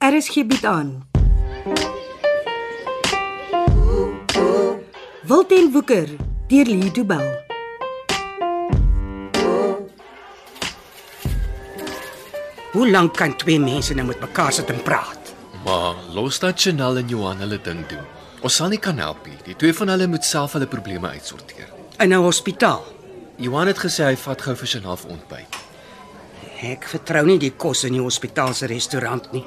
RSG bied Er aan. Wilten Woeker deur Lee Du Bell. Hoe lank kan twee mense nou met mekaar sit en praat? Maar los dat Chanel en Johan hulle ding doen. Ons sal nie kan help nie. Die twee van hulle moet self hulle probleme uitsorteer. In 'n hospitaal. Johan het gesê hy vat gou vir Chanel vir ontbyt. Ek vertrou nie die kos in die hospitaal se restaurant nie.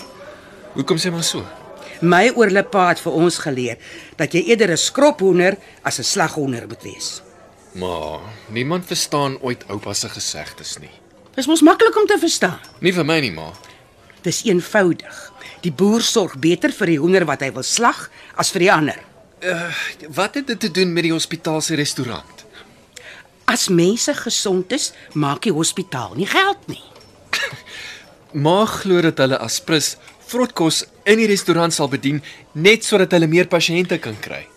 Hoekom sê maar so? My oorlepa het vir ons geleer dat jy eerder 'n skrophoender as 'n slaghonder moet wees. Maar niemand verstaan ooit oupa se gesegdes nie. Dis mos maklik om te verstaan. Nie vir my nie, ma. Dis eenvoudig. Die boer sorg beter vir die hoender wat hy wil slag as vir die ander. Wat het dit te doen met die hospitaal se restaurant? As mense gesond is, maak die hospitaal nie geld nie. Ma glo dat hulle as prins vrotkos in die restaurant sal bedien net sodat hulle meer pasiënte kan kry.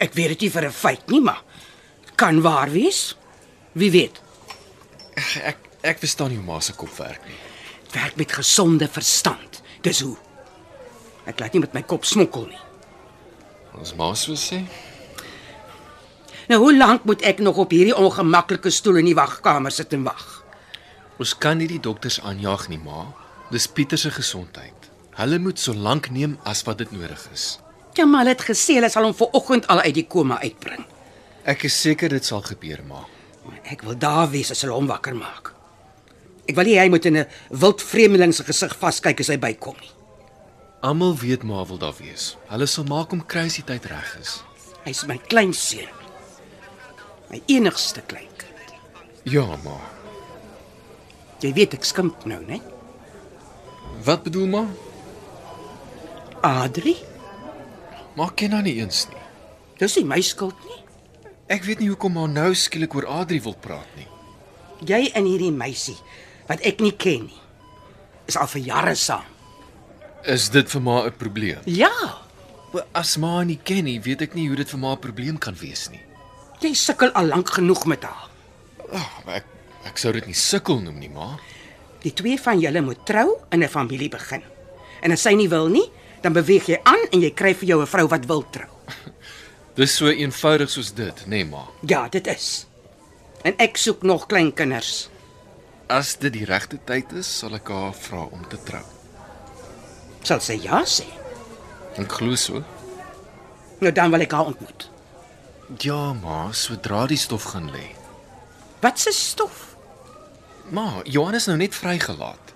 Ek weet dit nie vir 'n feit nie, maar kan waar wees. Wie weet? Ek ek verstaan nie hoe ma se kop werk nie. Het werk met gesonde verstand. Dis hoe. Ek laat nie met my kop smokkel nie. Ons ma sou sê, Nou hoe lank moet ek nog op hierdie ongemaklike stoel in die wagkamer sit en wag? ons kan nie die dokters aanjaag nie, ma. Dis Pieter se gesondheid. Hulle moet so lank neem as wat dit nodig is. Ja, maar hulle het gesê hulle sal hom vanoggend al uit die koma uitbring. Ek is seker dit sal gebeur, ma. Maar Ek wil daar wees as hulle hom wakker maak. Ek wil nie hy moet in 'n wild vreemdeling se gesig vaskyk as hy bykom nie. Almal weet ma wil daar wees. Hulle sal maak om crazy tyd reg is. Hy's my kleinseun. My enigste kleinkind. Ja, ma. Jy weet ek skimp nou, né? Wat bedoel ma? Adri, Ma ken haar nie eens nie. dis nie my skuld nie. Ek weet nie hoekom ma nou skielik oor Adri wil praat nie. Jy en hierdie meisie wat ek nie ken nie is al vir jare saam. Is dit vir ma 'n probleem? Ja, As ma haar nie ken nie, weet ek nie hoe dit vir ma 'n probleem kan wees nie. jy sukkel al lank genoeg met haar. Ag, maar ek ek sou dit nie sukkel noem nie, ma. Die twee van julle moet trou en 'n familie begin. En as sy nie wil nie, dan beweeg jy aan en jy kry vir jou 'n vrou wat wil trou. Dis so eenvoudig soos dit, nê, nee, ma. Ja, dit is. En ek soek nog kleinkinders. As dit die regte tyd is, sal ek haar vra om te trou. Sal sy ja sê? Ek glo so. Nou dan wil ek haar ontmoet. Ja, ma, sodra die stof gaan lê. Wat se stof? Ma, Johan is nou net vrygelaat.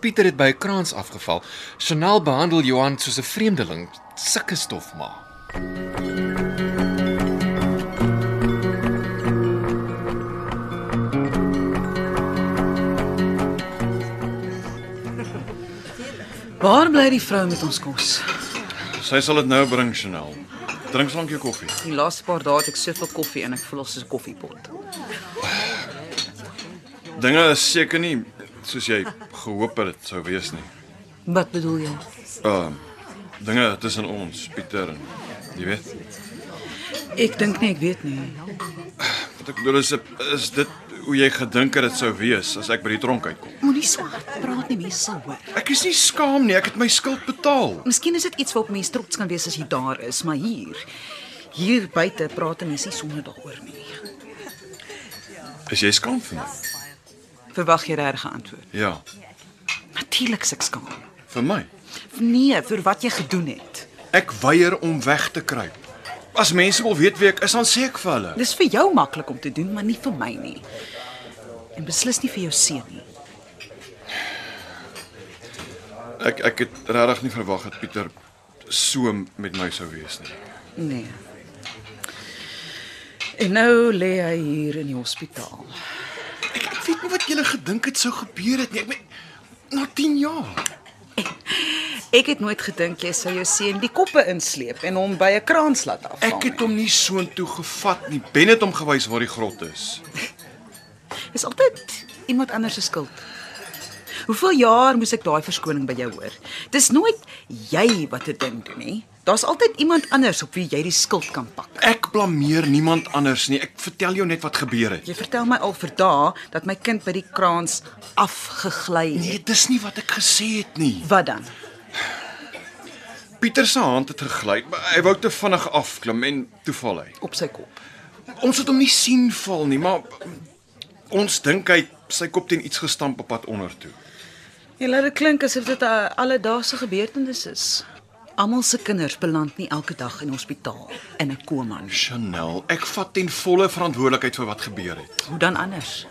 Pieter het by 'n kraans afgeval. Chanel behandel Johan soos 'n vreemdeling. Sulke stof, ma. Waar bly die vrou met ons kos? Sy sal dit nou bring, Chanel. Drink slank jou koffie. Die laaste paar dae het ek soveel koffie en ek voel ons is 'n koffiepot. Dinge is seker nie soos jy gehoop het dit sou wees nie. Wat bedoel jy? Ehm dinge tussen ons, Pieter en jy weet. Ek dink nie ek weet nie. Wat ek bedoel is is dit hoe jy gedink het dit sou wees as ek by die tronk uitkom. Moenie so hard praat nie, mense sal hoor. Ek is nie skaam nie, ek het my skuld betaal. Miskien is dit iets waarop mense trots kan wees as jy daar is, maar hier hier buite praat mense nie sonder daaroor nie. Is jy skaam vir my? Verwag jy regtig 'n antwoord? Ja, Natuurlik se ek skaam. vir my. Nee, vir wat jy gedoen het. Ek weier om weg te kruip. As mense wil weet wie ek is, dan sê ek vir hulle. Dis vir jou maklik om te doen, maar nie vir my nie. En beslis nie vir jou seun nie. Ek ek het regtig nie verwag dat Pieter so met my sou wees nie. Nee. En nou lê hy hier in die hospitaal. Ek, ek weet nie wat julle gedink het sou gebeur het nie. Ek meen na 10 jaar. Ek het nooit gedink jy sou jou seun die koppe insleep en hom by 'n kraans laat afval. Ek het hom nie soontoe gevat nie. Ben het hom gewys waar die grot is. Dis altyd iemand anders se skuld. Hoeveel jaar moes ek daai verskoning by jou hoor? Dis nooit jy wat 'n ding doen nie. Daar's altyd iemand anders op wie jy die skuld kan pak. Ek blameer niemand anders nie. Ek vertel jou net wat gebeur het. Jy vertel my al vir dae dat my kind by die kraans afgegly het. Nee, dis nie wat ek gesê het nie. Wat dan? Pieter se hand het gegly, maar hy wou te vinnig afklim en toe val hy. op sy kop. Ons het hom nie sien val nie, maar ons dink hy het sy kop teen iets gestamp op pad onder toe. Jy laat dit klink asof dit 'n alledaagse gebeurtenis is. Almal se kinders beland nie elke dag in hospitaal in 'n koma nie. Chanel, ek vat ten volle verantwoordelikheid vir wat gebeur het. Hoe dan anders?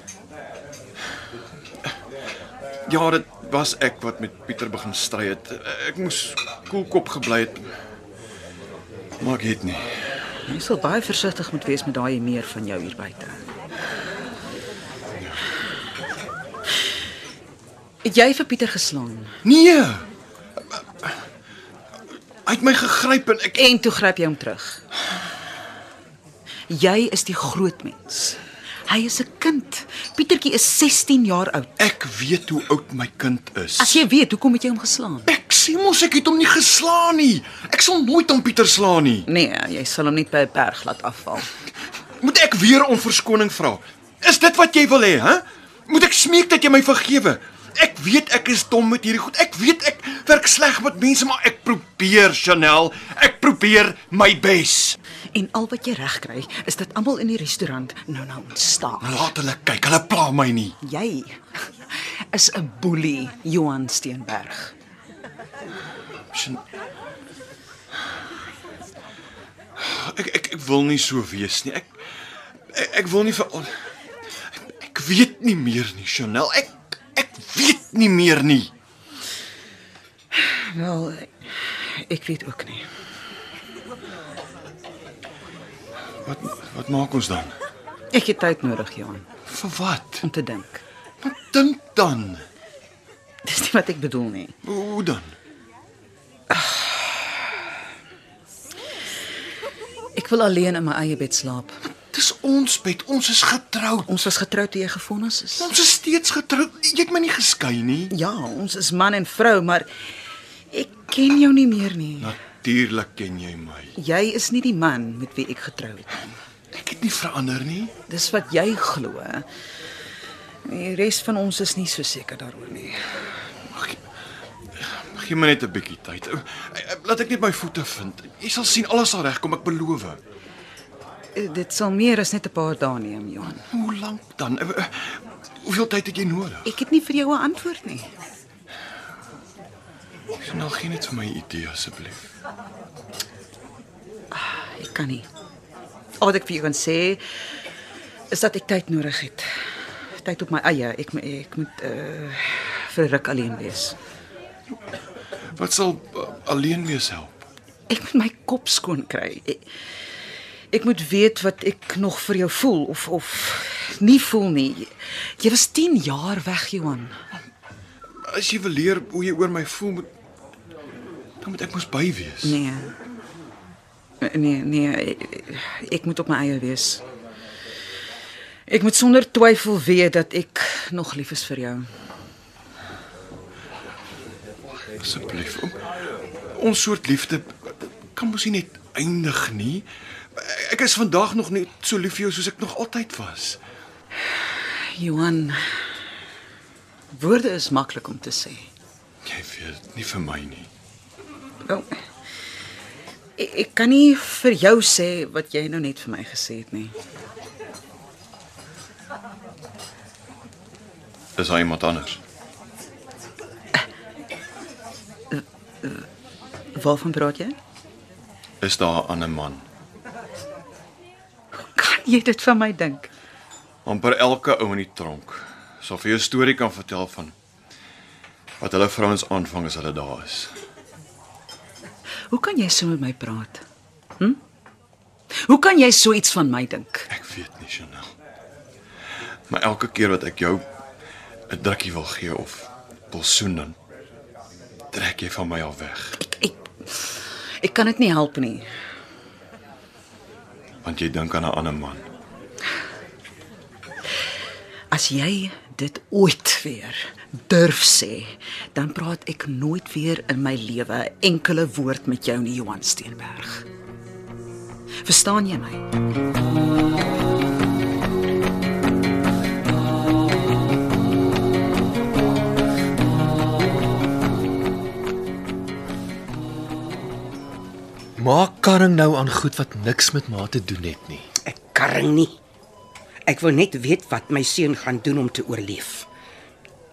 Ja, dit was ek wat met Pieter begin stry het. Ek moes koelkop gebly het. Maar ek het nie. Jy sal baie versigtig moet wees met daai meer van jou hier buite. Het jy vir Pieter geslaan Nee. Hy het my gegryp en ek en toe gryp jy hom terug. Jy is die groot mens. Hy is 'n kind. Pietertjie is 16 jaar oud. ek weet hoe oud my kind is. As jy weet, hoekom het jy hom geslaan? Ek sê mos ek het hom nie geslaan nie. Ek sal nooit aan Pieter slaan nie. Nee, jy sal hom nie by 'n berg laat afval. Moet ek weer om verskoning vra? Is dit wat jy wil hê, hè? Moet ek smeek dat jy my vergewe? Ek weet ek is dom met hierdie goed. Ek weet ek werk sleg met mense, maar ek probeer, Chanel. Ek probeer my bes. En al wat jy regkry, is dat almal in die restaurant nou nou ontstaan. Laat hulle kyk. Hulle pla my nie. Jy is 'n boelie, Johan Steenberg. Chan ek, ek ek wil nie so wees nie. Ek ek, ek wil nie vir al- ek weet nie meer nie, Chanel. Ek ek weet nie meer nie. Wel, ek weet ook nie. Wat wat maak ons dan? Ek het tyd nodig, Johan, Vir wat? om te dink. Wat dink dan? Dis nie wat ek bedoel nie. Hoe hoe dan? Ek wil alleen in my eie bed slaap. Dis ons bed. Ons is getroud. Ons was getroud toe jy gefonnis is. Ons is steeds getroud. Jy het my nie geskei nie. Ja, ons is man en vrou, maar ek ken jou nie meer nie. Natuurlik ken jy my. Jy is nie die man met wie ek getroud het nie. Ek het nie verander nie. Dis wat jy glo. Die res van ons is nie so seker daaroor nie. Gee my net 'n bietjie tyd. Eh, eh, Laat ek net my voete vind. Jy sal sien alles sal regkom, ek beloof. Eh, Dit sal meer as net 'n paar dae neem, Johan. Hoe lank dan? Eh, eh, Hoeveel tyd het jy nodig? Ek het nie vir jou 'n antwoord nie. Snel Nou, gee net vir my 'n idee asseblief. Ek kan nie. Al wat ek vir jou kan sê is dat ek tyd nodig het. Tyd op my eie. Ek mo- ek moet uh vir 'n ruk alleen wees. Wat sal eh, alleen wees help? Ek moet my kop skoon kry. Ek, ek moet weet wat ek nog vir jou voel of of nie voel nie. Jy was 10 jaar weg, Johan. As jy wil leer hoe jy oor my voel, moet dan moet ek mos by wees. Nee. Nee, nee, ek, ek moet op my eie wees. Ek moet sonder twyfel weet dat ek nog lief is vir jou. Asseblief. O- Ons soort liefde kan mos nie net eindig nie. Ek is vandag nog net so lief vir jou soos ek nog altyd was. Johan. Woorde is maklik om te sê. Jy weet, nie vir my nie. Wel, ek, E, ek kan nie vir jou sê wat jy nou net vir my gesê het nie. Dis aan iemand anders. Waarvan praat jy? Is daar 'n ander man? Kan jy dit van my dink? amper elke ou in die tronk sal vir jou 'n storie kan vertel van wat hulle vrouens aanvang as hulle daar is. Hoe kan jy so met my praat? Hm? Hoe kan jy so iets van my dink? Ek weet nie, Chanel. Maar elke keer wat ek jou 'n drukkie wil gee of wil soen dan trek jy van my af weg, Ek ek, ek kan dit nie help nie. want jy dink aan 'n ander man. As jy dit ooit weer durf sê, dan praat ek nooit weer in my lewe enkele woord met jou nie, Johan Steenberg. Verstaan jy my? Maak karring nou aan goed wat niks met ma te doen het nie. Ek karring nie. Ek wil net weet wat my seun gaan doen om te oorleef.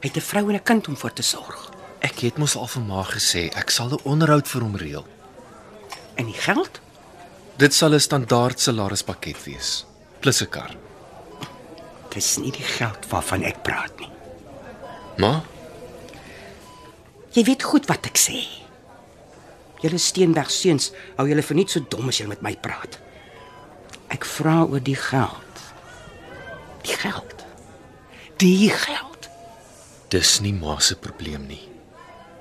Hy het 'n vrou en 'n kind om vir te sorg. Ek het mos al vir ma gesê ek sal 'n onderhoud vir hom reël. En die geld? Dit sal 'n standaard salarispakket wees, plus 'n kar. Dis nie die geld waarvan ek praat nie. Ma, Jy weet goed wat ek sê. Julle Steenberg seuns hou julle vir net so dom as julle met my praat. Ek vra oor die geld. Die geld. Die geld. dis nie ma se probleem nie.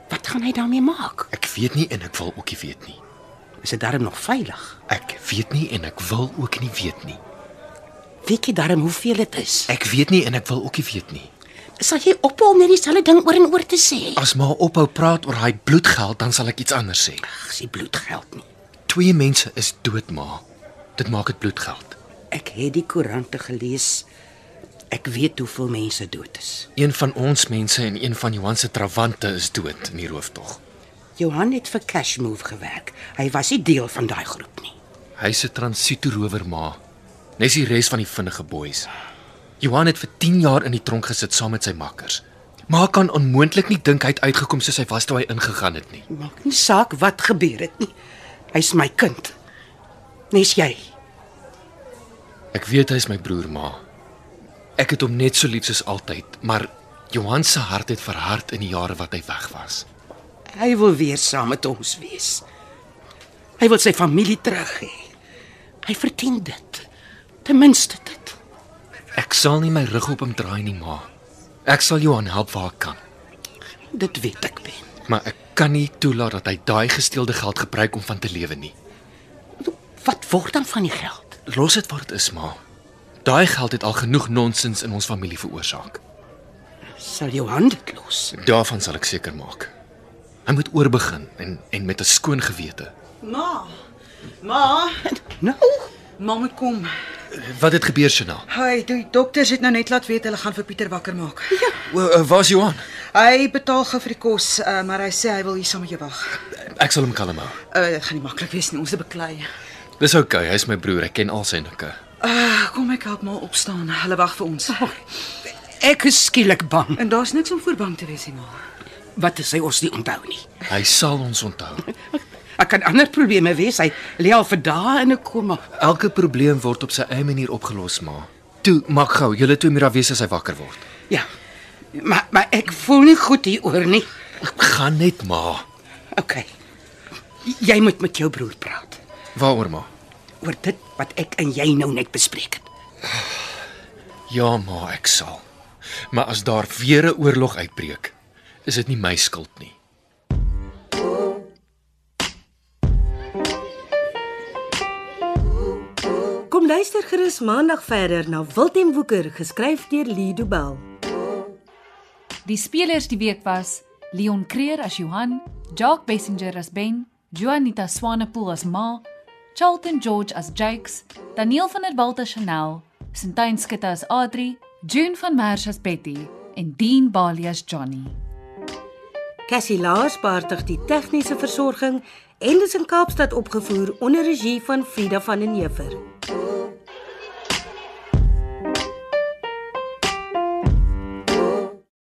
Wat gaan hy daarmee maak? Ek weet nie en ek wil ook nie weet nie. Is dit darm nog veilig? Ek weet nie en ek wil ook nie weet nie. Weet jy darm hoeveel dit is? Ek weet nie en ek wil ook nie weet nie. Sal jy ophou om net dieselfde ding oor en oor te sê? As ma ophou praat oor hy bloedgeld, dan sal ek iets anders sê. Ag, sy bloedgeld nie. Twee mense is dood, ma. Dit maak dit bloedgeld. Ek het die koerante gelees. Ek weet hoeveel mense dood is. Een van ons mense en een van Johan se trawante is dood in die rooftog. Johan het vir Cash Move gewerk. Hy was nie deel van daai groep nie. Hy se transito rower ma. Nes die res van die vinnige boeis. Johan het vir 10 jaar in die tronk gesit saam met sy makkers. Maar kan onmoontlik nie dink hy het uitgekom soos hy was toe hy ingegaan het nie. Maak nie saak wat gebeur het nie. Hy's my kind. Nes jy. Ek weet hy is my broer ma. Ek het hom net so lief soos altyd, maar Johan se hart het verhard in die jare wat hy weg was. Hy wil weer saam met ons wees. Hy wil sy familie terug hê. Hy verdien dit. Ten minste dit. Ek sal nie my rug op hom draai nie, ma. Ek sal Johan help waar ek kan, Dit weet ek ben. maar ek kan nie toelaat dat hy daai gesteelde geld gebruik om van te lewe nie. Wat word dan van die geld? Los dit waar dit is, ma. Daai geld het al genoeg nonsens in ons familie veroorsaak. Sal Johan dit los? Daarvan sal ek seker maak. Hy moet oorbegin en en met 'n skoon gewete. Ma. Ma, Nou, ma moet kom. Wat het gebeur, Shana? Hy, die dokters het nou net laat weet hulle gaan vir Pieter wakker maak. Ja. Waar's Johan? Hy betaal gou vir die kos, uh, maar hy sê hy wil hier saam met jou wag. Ek sal hom kalm hou. Uh, dit gaan nie maklik wees nie, ons is beklei. Dis oukei, okay, hy's my broer, ek ken al sy nikke. Uh, kom ek help maar opstaan. Hulle wag vir ons. Oh. ek is skielik bang. En daar's niks om voor bang te wees nie, ma. Wat as hy ons nie onthou nie? Hy sal ons onthou. Ek kan ander probleme wees. Hy lê al vir dae in 'n koma. Elke probleem word op sy eie manier opgelos, ma. Toe, maak gou, julle twee moet daar wees as hy wakker word. Ja. Maar maar ek voel nie goed hieroor nie. Gaan net, ma. OK. Jy moet met jou broer praat Waaroor, ma? oor dit wat ek en jy nou net bespreek het. Ja, ma, ek sal. Maar as daar weer 'n oorlog uitbreek, is dit nie my skuld nie. Kom luister gerus maandag verder na Wilten Woeker geskryf deur Lido Bell. Die spelers die week was Leon Creer as Johan, Jock Basinger as Ben, Juanita Swanepoel as Ma, Charlton George as Jakes, Daniel van der Walt as Chanel, Sintyn Skutte as Adri, June van Merwe as Betty en Dean Bailey as Johnny. Cassie Lars beheer die tegniese versorging en dit is in Kaapstad opgevoer onder regie van Frida van den Heever.